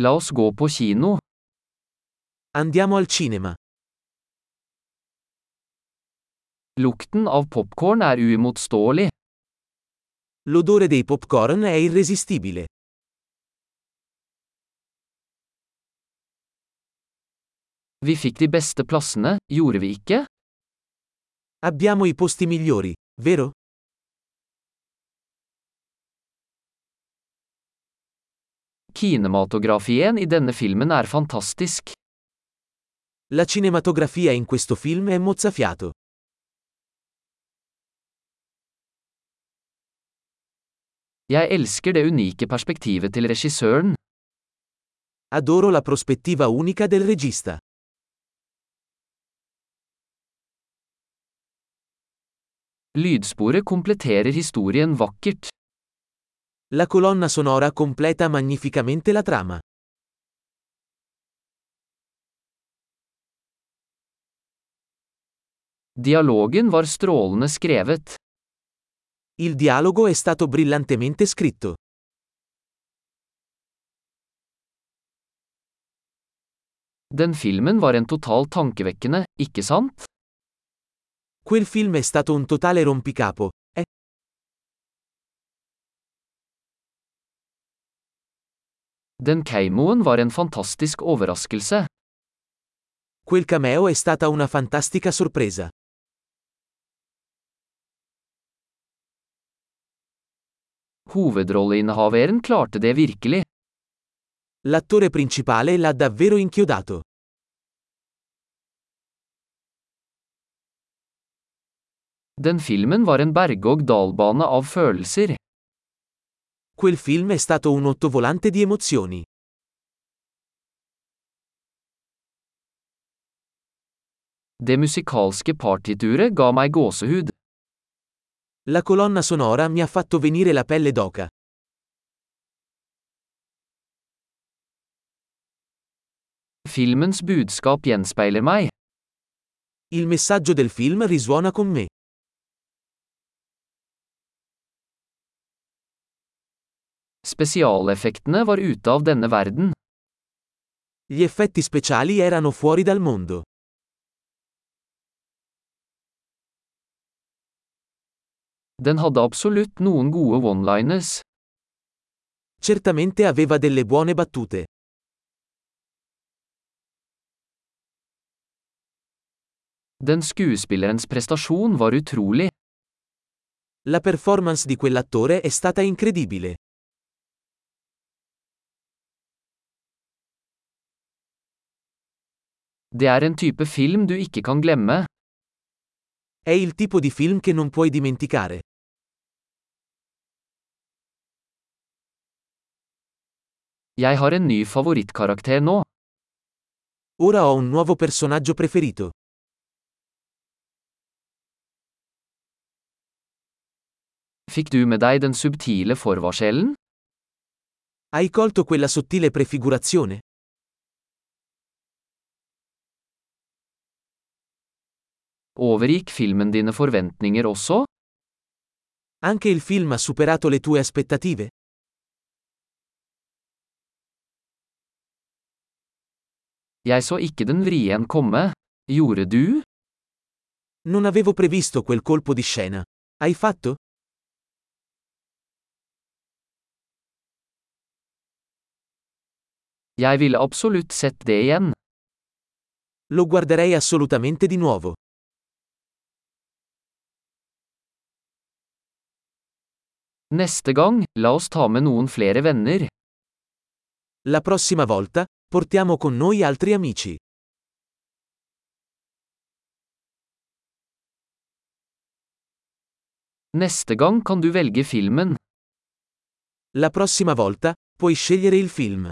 La oss gå på kino. Andiamo al cinema. Lukten av popkorn er uimotståelig. L'odore dei popcorn è irresistibile. Vi fikk de beste plassene, gjorde vi ikke? Abbiamo i posti migliori, vero? Kinematografien i denne filmen er fantastisk. La cinematografia in questo film è mozzafiato. Jeg elsker det unike perspektivet til regissøren. Adoro la prospettiva unica del regista. Lydsporet kompletterer historien vakkert. La colonna sonora completa magnificamente la trama. Dialogen var strålende skrevet. Il dialogo è stato brillantemente scritto. Den filmen var en total tankevekkende, ikke sant? Quel film è stato un totale rompicapo, eh? Den keimoen var en fantastisk overraskelse. Quel cameo è stata una fantastica sorpresa. Hovedrolleinnehaveren klarte det virkelig. L'attore principale l'ha davvero inchiodato. Den filmen var en berg-og-dal-bane av følelser. Quel film è stato un ottovolante di emozioni. Det musikalske partituret ga meg gåsehud. La colonna sonora mi ha fatto venire la pelle d'oca. Filmens budskap gjenspeiler meg. Il messaggio del film risuona con me. Spesialeffektene var ute av denne verden. Gli effetti speciali erano fuori dal mondo. Den hadde absolutt noen gode one-liners. Certamente aveva delle buone battute. Den skuespillerens prestasjon var utrolig. La performance di quell'attore è stata incredibile. Det er en type film du ikke kan glemme. È il tipo di film che non puoi dimenticare. Jeg har en ny favorittkarakter nå. Ora ho un nuovo personaggio preferito. Fikk du med deg den subtile forvarselen? Hai colto quella sottile prefigurazione? Overgikk filmen dine forventninger også? Anche il film ha superato le tue aspettative? Jeg så ikke den vrien komme. Gjorde du? Non avevo previsto quel colpo di scena. Hai fatto? Jeg ville absolutt sett det igjen. Lo guarderei assolutamente di nuovo. Neste gang, la oss ta med noen flere venner. La prossima volta, portiamo con noi altri amici. Neste gang kan du velge filmen. La prossima volta, puoi scegliere il film.